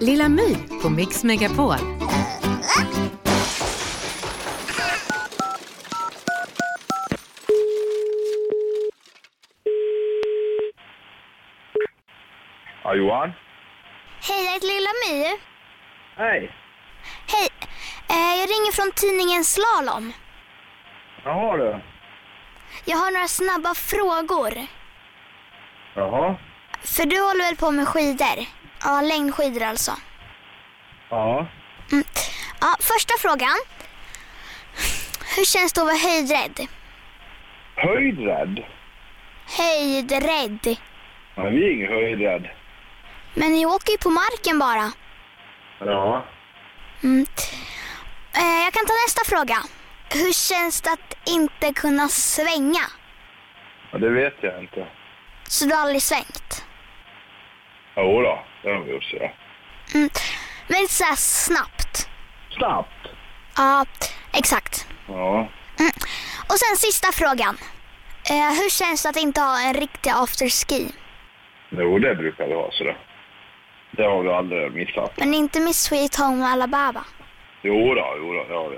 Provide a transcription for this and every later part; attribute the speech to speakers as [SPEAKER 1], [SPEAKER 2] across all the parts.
[SPEAKER 1] Lilla My på Mix Megapol.
[SPEAKER 2] Ja, Johan?
[SPEAKER 3] Hej, jag heter Lilla My.
[SPEAKER 2] Hej.
[SPEAKER 3] Hej. Eh, jag ringer från tidningen Slalom.
[SPEAKER 2] Jaha du.
[SPEAKER 3] Jag har några snabba frågor.
[SPEAKER 2] Jaha.
[SPEAKER 3] För du håller väl på med skidor? Ja, längdskidor alltså.
[SPEAKER 2] Ja.
[SPEAKER 3] Mm. Ja, första frågan. Hur känns det att vara höjdrädd?
[SPEAKER 2] Höjdrädd?
[SPEAKER 3] Höjdrädd.
[SPEAKER 2] Men vi är ingen höjdrädd.
[SPEAKER 3] Men ni åker ju på marken bara.
[SPEAKER 2] Ja.
[SPEAKER 3] Mm. Eh, jag kan ta nästa fråga. Hur känns det att inte kunna svänga?
[SPEAKER 2] ja. Det vet jag inte.
[SPEAKER 3] Så du har aldrig svängt?
[SPEAKER 2] Jo då, det har vi gjort så.
[SPEAKER 3] Mm. Men inte så här snabbt.
[SPEAKER 2] Snabbt?
[SPEAKER 3] Ja, exakt.
[SPEAKER 2] Ja.
[SPEAKER 3] Och sen sista frågan. Eh, hur känns det att inte ha en riktig afterski?
[SPEAKER 2] Jo, det brukar vi ha sådär. Det har vi aldrig missat.
[SPEAKER 3] Men inte med Sweet Home Alabama.
[SPEAKER 2] Jo då, jo då, det har vi.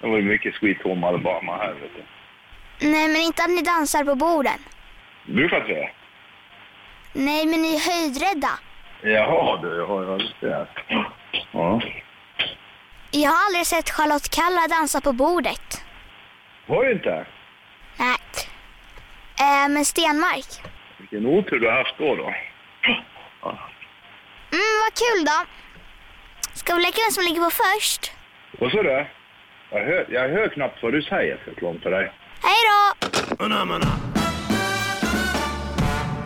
[SPEAKER 2] Det var ju mycket Sweet Home Alabama här vet du.
[SPEAKER 3] Nej, men inte att ni dansar på borden.
[SPEAKER 2] Det brukar inte det?
[SPEAKER 3] Nej, men ni är höjdrädda.
[SPEAKER 2] Jaha du, jag har ju det här. Ja.
[SPEAKER 3] Jag har aldrig sett Charlotte Kalla dansa på bordet.
[SPEAKER 2] Har du inte?
[SPEAKER 3] Nej. Eh, men Stenmark.
[SPEAKER 2] Vilken otur du har haft då då.
[SPEAKER 3] Mm, vad kul då. Ska vi leka vem som ligger på först?
[SPEAKER 2] Vad sa du? Jag hör, jag hör knappt vad du säger, förklarar för dig.
[SPEAKER 3] Hej då!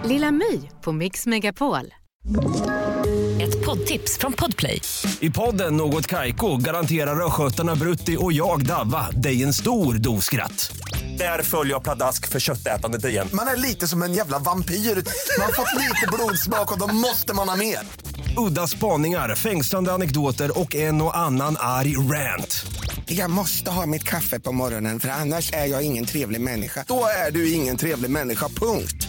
[SPEAKER 1] Lilla My på Mix Megapol.
[SPEAKER 4] Ett poddtips från Podplay.
[SPEAKER 5] I podden Något Kaiko garanterar östgötarna Brutti och jag, Davva, dig en stor dos skratt. Där följer jag pladask för köttätandet igen.
[SPEAKER 6] Man är lite som en jävla vampyr. Man har fått lite blodsmak och då måste man ha mer.
[SPEAKER 5] Udda spaningar, fängslande anekdoter och en och annan arg rant.
[SPEAKER 7] Jag måste ha mitt kaffe på morgonen för annars är jag ingen trevlig människa.
[SPEAKER 6] Då är du ingen trevlig människa, punkt.